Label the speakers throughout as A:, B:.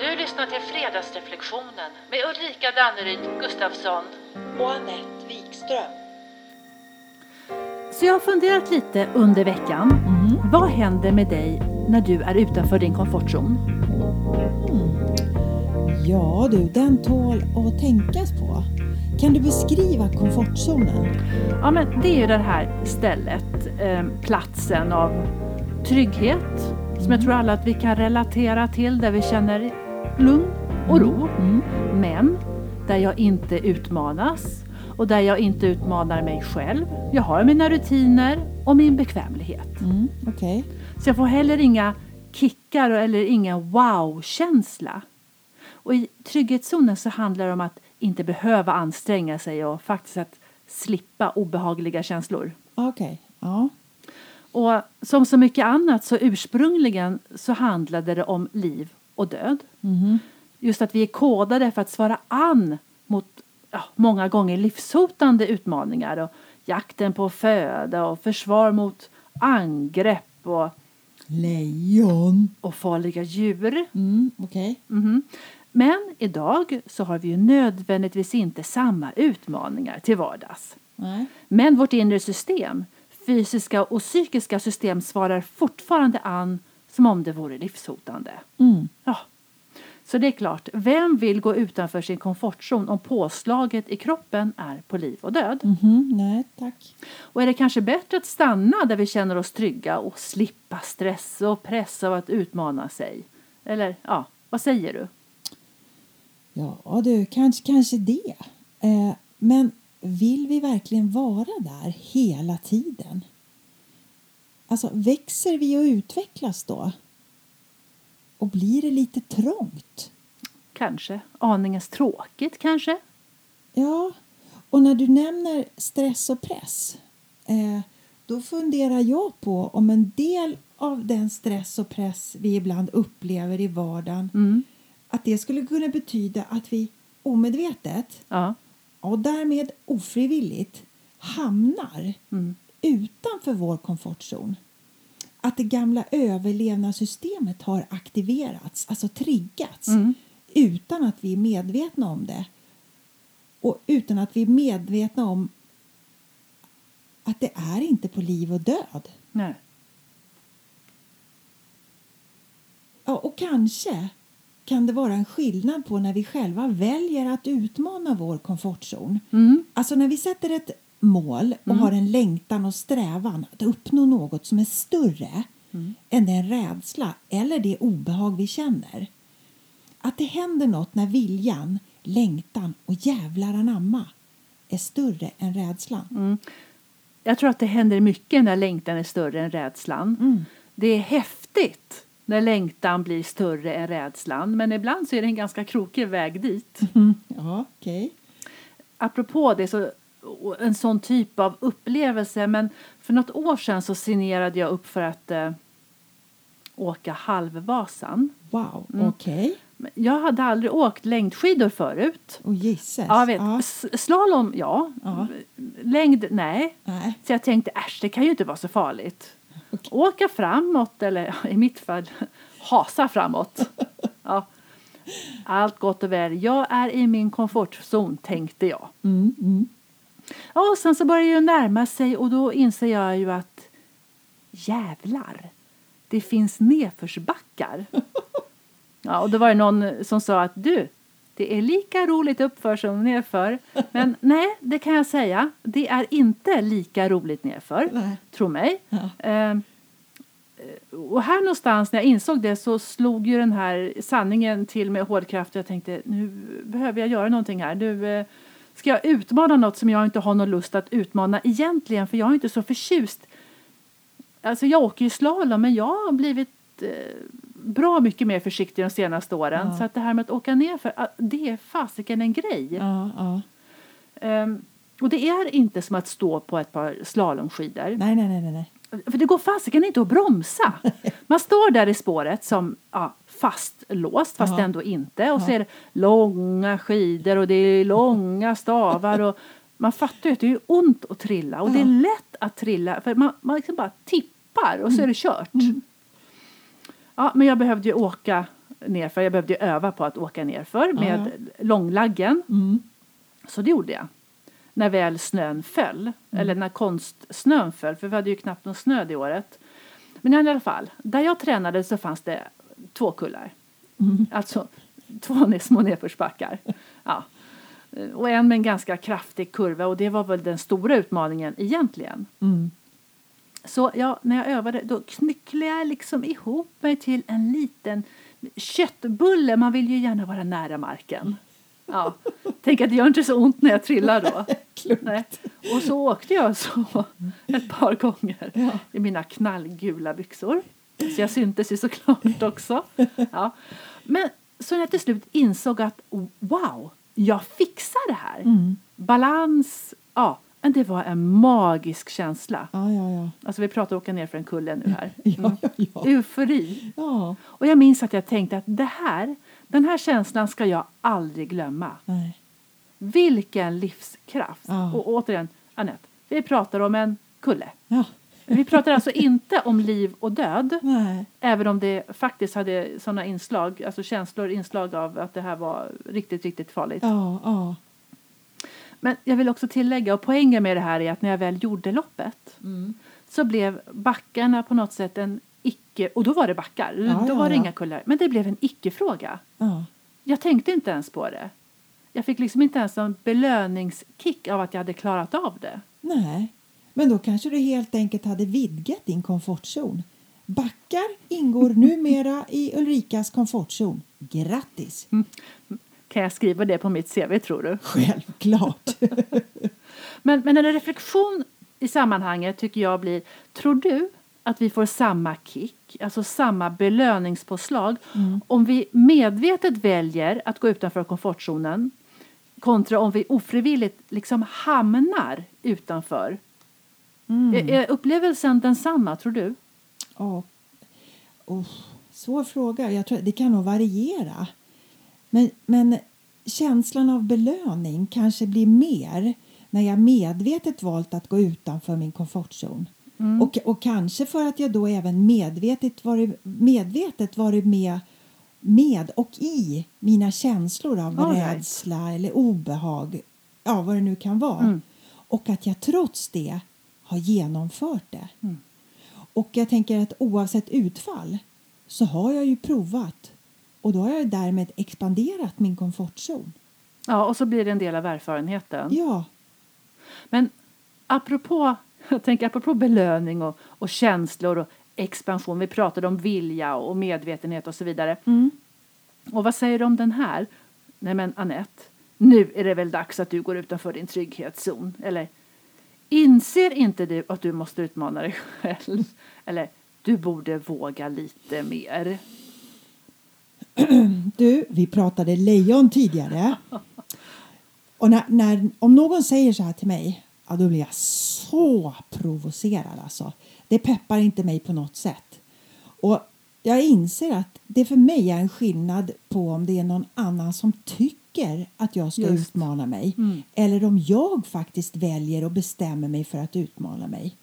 A: Du lyssnar till Fredagsreflektionen med Ulrika Danneryd Gustafsson.
B: och Anette Wikström.
C: Så jag har funderat lite under veckan. Vad händer med dig när du är utanför din komfortzon?
D: Ja du, den tål att tänkas på. Kan du beskriva komfortzonen?
C: Ja, men det är ju det här stället, eh, platsen av trygghet som jag tror alla att vi kan relatera till, där vi känner lugn och ro. Men där jag inte utmanas och där jag inte utmanar mig själv. Jag har mina rutiner och min bekvämlighet.
D: Mm, Okej.
C: Så jag får heller inga kickar eller inga wow-känsla. Och i trygghetszonen så handlar det om att inte behöva anstränga sig och faktiskt att slippa obehagliga känslor.
D: Okej. Ja.
C: Och som så mycket annat så ursprungligen så handlade det om liv och död. Just att vi är kodade för att svara an mot ja, många gånger livshotande utmaningar och jakten på föda och försvar mot angrepp och,
D: Lejon.
C: och farliga djur.
D: Mm, Okej.
C: Mhm. Men idag så har vi ju nödvändigtvis inte samma utmaningar till vardags.
D: Nej.
C: Men vårt inre system, fysiska och psykiska system svarar fortfarande an som om det vore livshotande.
D: Mm.
C: Ja. Så det är klart, vem vill gå utanför sin komfortzon om påslaget i kroppen är på liv och död?
D: Mhm, Nej, tack.
C: Och är det kanske bättre att stanna där vi känner oss trygga och slippa stress och press av att utmana sig? Eller ja, vad säger du?
D: Ja du, kanske, kanske det. Eh, men vill vi verkligen vara där hela tiden? Alltså, växer vi och utvecklas då? Och blir det lite trångt?
C: Kanske. Aningens tråkigt kanske?
D: Ja, och när du nämner stress och press eh, då funderar jag på om en del av den stress och press vi ibland upplever i vardagen
C: Mm.
D: att det skulle kunna betyda att vi omedvetet
C: Ja.
D: och därmed ofrivilligt hamnar
C: Mm.
D: utanför vår komfortzon. Att det gamla överlevnadssystemet har aktiverats, alltså triggats
C: Mm.
D: utan att vi är medvetna om det. Och utan att vi är medvetna om att det är inte på liv och död.
C: Nej.
D: Ja, och kanske kan det vara en skillnad på när vi själva väljer att utmana vår komfortzon.
C: Mm.
D: Alltså när vi sätter ett mål och har en längtan och strävan att uppnå något som är större
C: Mm.
D: än den rädsla eller det obehag vi känner. Att det händer något när viljan, längtan och jävlar anamma är större än rädslan.
C: Mm. Jag tror att det händer mycket när längtan är större än rädslan.
D: Mm.
C: Det är häftigt när längtan blir större än rädslan men ibland så är det en ganska krokig väg dit.
D: Ja, okej.
C: Mm. Apropå det, så, och en sån typ av upplevelse men för något år sedan så signerade jag upp för att eh, åka halvvasan.
D: Wow, okej.
C: Men Jag hade aldrig åkt längdskidor förut.
D: Och gissas.
C: Ja, jag vet.
D: Ja,
C: S- Slalom, ja.
D: Ja.
C: Längd, nej.
D: nej,
C: Så jag tänkte, äsch, det kan ju inte vara så farligt.
D: Okej.
C: Åka framåt, eller i mitt fall, hasa framåt. Ja. Allt gott och väl. Jag är i min komfortzon, tänkte jag. Ja, och sen så börjar det ju närma sig och då inser jag ju att jävlar, det finns nedförsbackar. Ja, och då var det någon som sa att du, det är lika roligt uppför som nedför. Men nej, det kan jag säga, det är inte lika roligt nedför,
D: Nej.
C: tro mig.
D: Ja.
C: Ehm, och här någonstans när jag insåg det så slog ju den här sanningen till med hårdkraft. Jag tänkte nu behöver jag göra någonting här. Nu eh, ska jag utmana något som jag inte har någon lust att utmana egentligen för jag är inte så förtjust. Alltså jag åker ju slalom men jag har blivit eh, bra mycket mer försiktig de senaste åren.
D: Ja.
C: Så att det här med att åka ner för ah, det är fasiken en grej.
D: ja, ja.
C: Ehm, och det är inte som att stå på ett par slalomskidor.
D: Nej, nej, nej, nej, nej.
C: För det går fasiken inte att bromsa. Man står där i spåret som ja, fastlåst, fast
D: Ja.
C: ändå inte. Och så
D: Ja.
C: är det långa skidor och det är långa stavar. Och man fattar ju att det är ont att trilla och det är
D: Ja.
C: lätt att trilla för man, man
D: Mm.
C: liksom bara tippar och så är det kört. Ja, men jag behövde ju åka nerför. Jag behövde ju öva på att åka nerför
D: Ja,
C: med långlaggen.
D: Mm.
C: Så det gjorde jag. När väl snön föll, eller när konstsnön föll, för vi hade ju knappt någon snö det året. Men i alla fall, där jag tränade så fanns det två kullar. Alltså två ne- små nedförsbackar. Ja. Eh, Och en med en ganska kraftig kurva och det var väl den stora utmaningen egentligen.
D: Mm.
C: Så jag, när jag övade då knycklade jag liksom ihop mig till en liten köttbulle. Man vill ju gärna vara nära marken. Ja. Tänk att det gör inte så ont när jag trillar då.
D: Klokt.
C: Nej. Och så åkte jag så ett par gånger i mina knallgula byxor. Så jag syntes ju såklart också. Ja. Men så när jag till slut insåg att wow, jag fixar det här. Balans, ja, men det var en magisk känsla.
D: Ja, ja, ja.
C: Alltså vi pratar åka ner för en kulle nu här. Mm.
D: Ja, ja, ja.
C: Eufori.
D: ja.
C: Och jag minns att jag tänkte att det här, den här känslan ska jag aldrig glömma.
D: Nej.
C: Vilken livskraft!
D: Ja.
C: Och återigen, Anette, vi pratar om en kulle.
D: Ja.
C: Vi pratar alltså inte om liv och död,
D: Nej.
C: även om det faktiskt hade sådana inslag, alltså känslor, inslag av att det här var riktigt, riktigt farligt.
D: Ja, ja.
C: Men jag vill också tillägga, och poängen med det här är att när jag väl gjorde loppet
D: Mm.
C: så blev backarna på något sätt en icke, och då var det backar,
D: Ja,
C: då
D: ja,
C: var det
D: ja.
C: inga kullar, men det blev en icke-fråga.
D: ja.
C: Jag tänkte inte ens på det. Jag fick liksom inte ens en belöningskick av att jag hade klarat av det.
D: Nej. Men då kanske du helt enkelt hade vidgat din komfortzon. Backar ingår numera i Ulrikas komfortzon. Grattis!
C: Kan jag skriva det på mitt CV tror du?
D: Självklart!
C: Men, men en reflektion i sammanhanget tycker jag blir, tror du att vi får samma kick, alltså samma belöningspåslag om vi medvetet väljer att gå utanför komfortzonen kontra om vi ofrivilligt liksom hamnar utanför? Är, är upplevelsen densamma, tror du?
D: Ja. Oh, svår fråga. Jag tror, det kan nog variera. Men, men känslan av belöning kanske blir mer när jag medvetet valt att gå utanför min komfortzon.
C: Mm.
D: Och, och kanske för att jag då även medvetet varit, medvetet varit med, med och i mina känslor av
C: All right.
D: rädsla eller obehag, ja vad det nu kan vara.
C: Mm.
D: Och att jag trots det har genomfört det. Och jag tänker att oavsett utfall så har jag ju provat och då har jag ju därmed expanderat min komfortzon.
C: Ja, och så blir det en del av erfarenheten.
D: Ja,
C: Men apropå, jag tänker apropå belöning och, och känslor och expansion. Vi pratade om vilja och medvetenhet och så vidare. Och vad säger du om den här? Nej men Anette, nu är det väl dags att du går utanför din trygghetszon. Eller inser inte du att du måste utmana dig själv? Eller du borde våga lite mer.
D: du, vi pratade lejon tidigare. Och när, när, om någon säger så här till mig, ja då blir jag så provocerad alltså. Det peppar inte mig på något sätt. Och jag inser att det för mig är en skillnad på om det är någon annan som tycker att jag ska
C: Just.
D: utmana mig eller om jag faktiskt väljer och bestämmer mig för att utmana mig.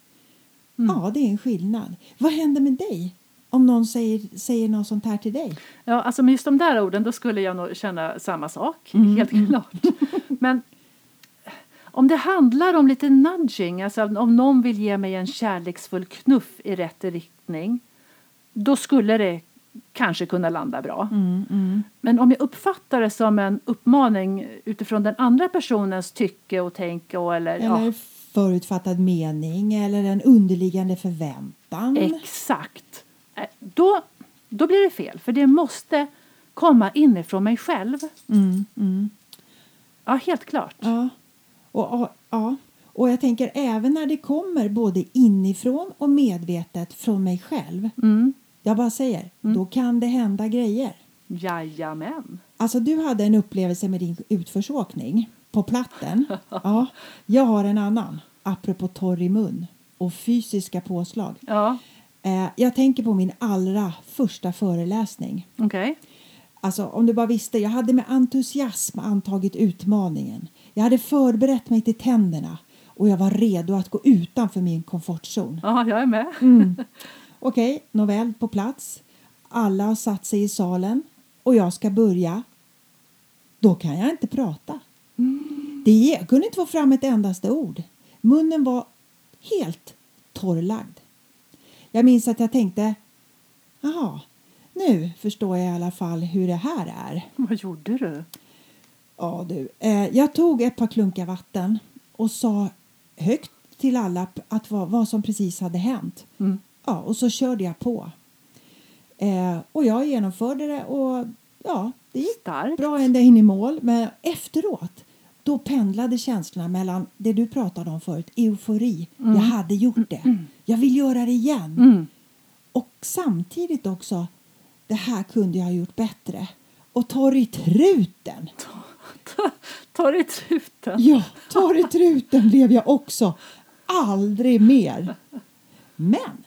D: Ja, det är en skillnad. Vad händer med dig om någon säger, säger något sånt här till dig?
C: Ja, alltså med just de där orden då skulle jag nog känna samma sak, helt klart. Men eh, om det handlar om lite nudging, alltså om någon vill ge mig en kärleksfull knuff i rätt riktning, då skulle det kanske kunna landa bra. Men om jag uppfattar det som en uppmaning utifrån den andra personens tycke och tänke och eller,
D: Eller
C: ja,
D: förutfattad mening eller en underliggande förväntan?
C: exakt, eh, då, då blir det fel. För det måste komma inifrån mig själv.
D: Mm, mm.
C: Ja, helt klart.
D: Ja. Och, och, ja. och jag tänker även när det kommer både inifrån och medvetet från mig själv.
C: Mm.
D: Jag bara säger, då kan det hända grejer.
C: Jajamän.
D: Alltså du hade en upplevelse med din utförsåkning på platten. Ja, jag har en annan, apropå torr i mun och fysiska påslag.
C: Ja,
D: Eh, jag tänker på min allra första föreläsning.
C: okej.
D: Alltså om du bara visste, jag hade med entusiasm antagit utmaningen. Jag hade förberett mig till tänderna och jag var redo att gå utanför min komfortzon.
C: Ja, jag är
D: Mm.
C: med.
D: Okej, nåväl, på plats. Alla har satt sig i salen. och jag ska börja, då kan jag inte prata. Det, jag kunde inte få fram ett endaste ord. Munnen var helt torrlagd. Jag minns att jag tänkte, jaha, nu förstår jag i alla fall hur det här är.
C: Vad gjorde du?
D: Ja du, eh, jag tog ett par klunkar vatten och sa högt till alla p- att vad, vad som precis hade hänt.
C: Mm.
D: Ja, och så körde jag på. Eh, och jag genomförde det och ja, det gick
C: Starkt.
D: bra ända in i mål. Men efteråt, då pendlade känslorna mellan det du pratade om förut, eufori, jag hade gjort det, jag vill göra det igen.
C: Mm.
D: Och samtidigt också, det här kunde jag ha gjort bättre. Och torr i truten!
C: Ta dig truten.
D: Ja, torr i truten blev jag också. Aldrig mer. Men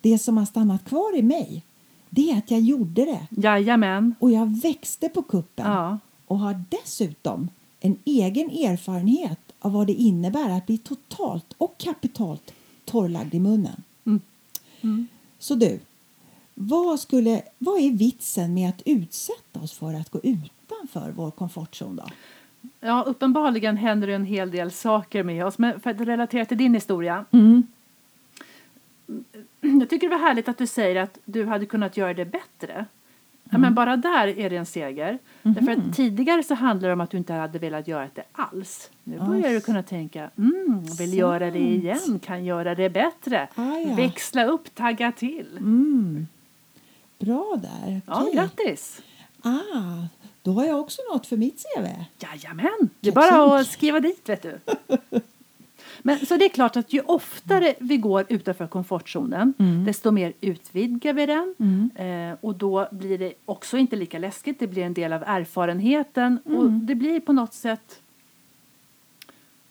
D: det som har stannat kvar i mig, det är att jag gjorde det.
C: Jajamän.
D: Och jag växte på kuppen.
C: Ja.
D: Och har dessutom en egen erfarenhet av vad det innebär att bli totalt och kapitalt torrlagd i munnen. Så du, vad, skulle, vad är vitsen med att utsätta oss för att gå utanför vår komfortzon då?
C: Ja, uppenbarligen händer det en hel del saker med oss. Men för att relatera till din historia.
D: Mm.
C: Jag tycker det var härligt att du säger att du hade kunnat göra det bättre. Ja,
D: Mm.
C: men bara där är det en seger. Därför att tidigare så handlade det om att du inte hade velat göra det alls. Nu börjar du kunna tänka, mm, vill
D: Sant.
C: göra det igen, kan göra det bättre.
D: Ah, ja.
C: Växla upp, tagga till.
D: Mm. Bra där.
C: Ja,
D: Okej.
C: grattis!
D: ah, då har jag också något för mitt CV.
C: Jajamän! Det är
D: Kaxunk.
C: bara att skriva dit, vet du. Men, så det är klart att ju oftare vi går utanför komfortzonen desto mer utvidgar vi den eh, och då blir det också inte lika läskigt, det blir en del av erfarenheten och det blir på något sätt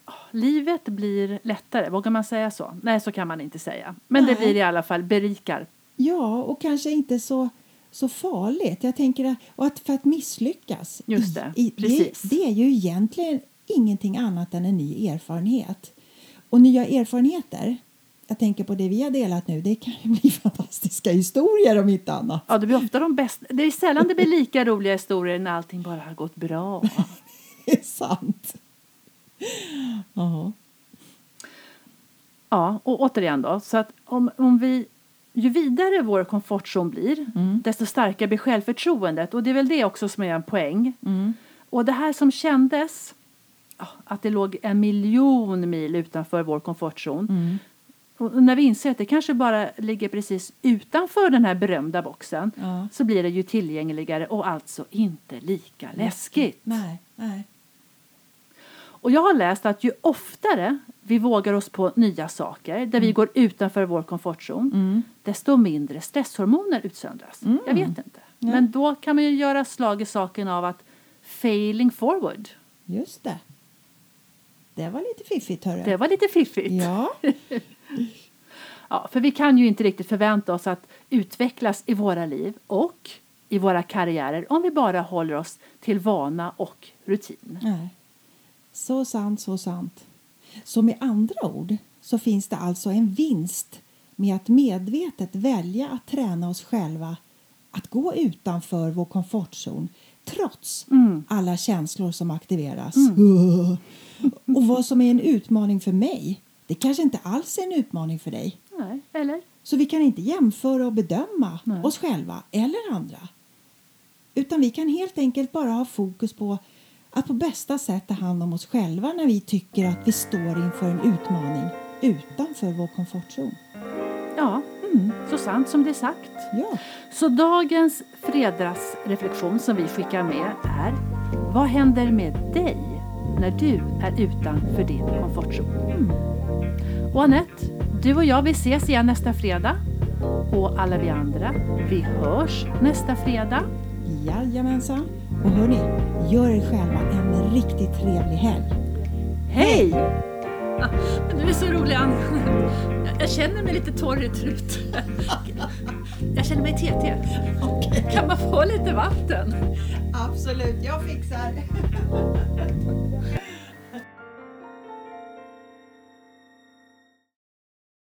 C: Ah, Livet blir lättare, vågar man säga så? Nej, så kan man inte säga. Men det
D: Nej.
C: blir i alla fall berikar.
D: Ja, och kanske inte så, så farligt. Jag tänker att, och att för att misslyckas.
C: Just det,
D: i, i,
C: precis.
D: Det, det är ju egentligen ingenting annat än en ny erfarenhet. Och nya erfarenheter, jag tänker på det vi har delat nu, det kan ju bli fantastiska historier om inte annat.
C: Ja, det blir ofta de bästa. Det är sällan det blir lika roliga historier när allting bara har gått bra.
D: Det är sant. Ja.
C: Ja, och återigen då, så att om, om vi, ju vidare vår komfortzon blir, desto starkare blir självförtroendet. Och det är väl det också som är en poäng. Och det här som kändes, ja, att det låg en miljon mil utanför vår komfortzon.
D: Mm.
C: Och och när vi inser att det kanske bara ligger precis utanför den här berömda boxen
D: Ja.
C: så blir det ju tillgängligare och alltså inte lika läskigt.
D: Nej, nej.
C: Och jag har läst att ju oftare vi vågar oss på nya saker där vi går utanför vår komfortzon desto mindre stresshormoner utsöndras. Jag vet inte. Men då kan man ju göra slag i saken av att failing forward.
D: Just det. Det var lite fiffigt, hörru.
C: Det var lite fiffigt.
D: Ja.
C: Ja, för vi kan ju inte riktigt förvänta oss att utvecklas i våra liv och i våra karriärer om vi bara håller oss till vana och rutin.
D: Nej. Så sant, så sant. Så med andra ord så finns det alltså en vinst med att medvetet välja att träna oss själva att gå utanför vår komfortzon trots
C: Mm.
D: alla känslor som aktiveras. Och vad som är en utmaning för mig, det kanske inte alls är en utmaning för dig.
C: Nej, eller?
D: Så vi kan inte jämföra och bedöma
C: Nej.
D: oss själva eller andra. Utan vi kan helt enkelt bara ha fokus på att på bästa sätt ta hand om oss själva när vi tycker att vi står inför en utmaning utanför vår komfortzon.
C: Ja, så sant som det är sagt.
D: Ja,
C: Så dagens fredagsreflektion som vi skickar med är Vad händer med dig när du är utanför din komfortzon? Mm. Och Anette, du och jag vi ses igen nästa fredag. Och alla vi andra, vi hörs nästa fredag.
D: jajamensan. Och hörni, gör er själva en riktigt trevlig helg.
C: Hej! Du är så rolig Ann. Jag känner mig lite torr i truten. Jag känner mig TT. Kan man få lite vatten?
D: Absolut, jag fixar.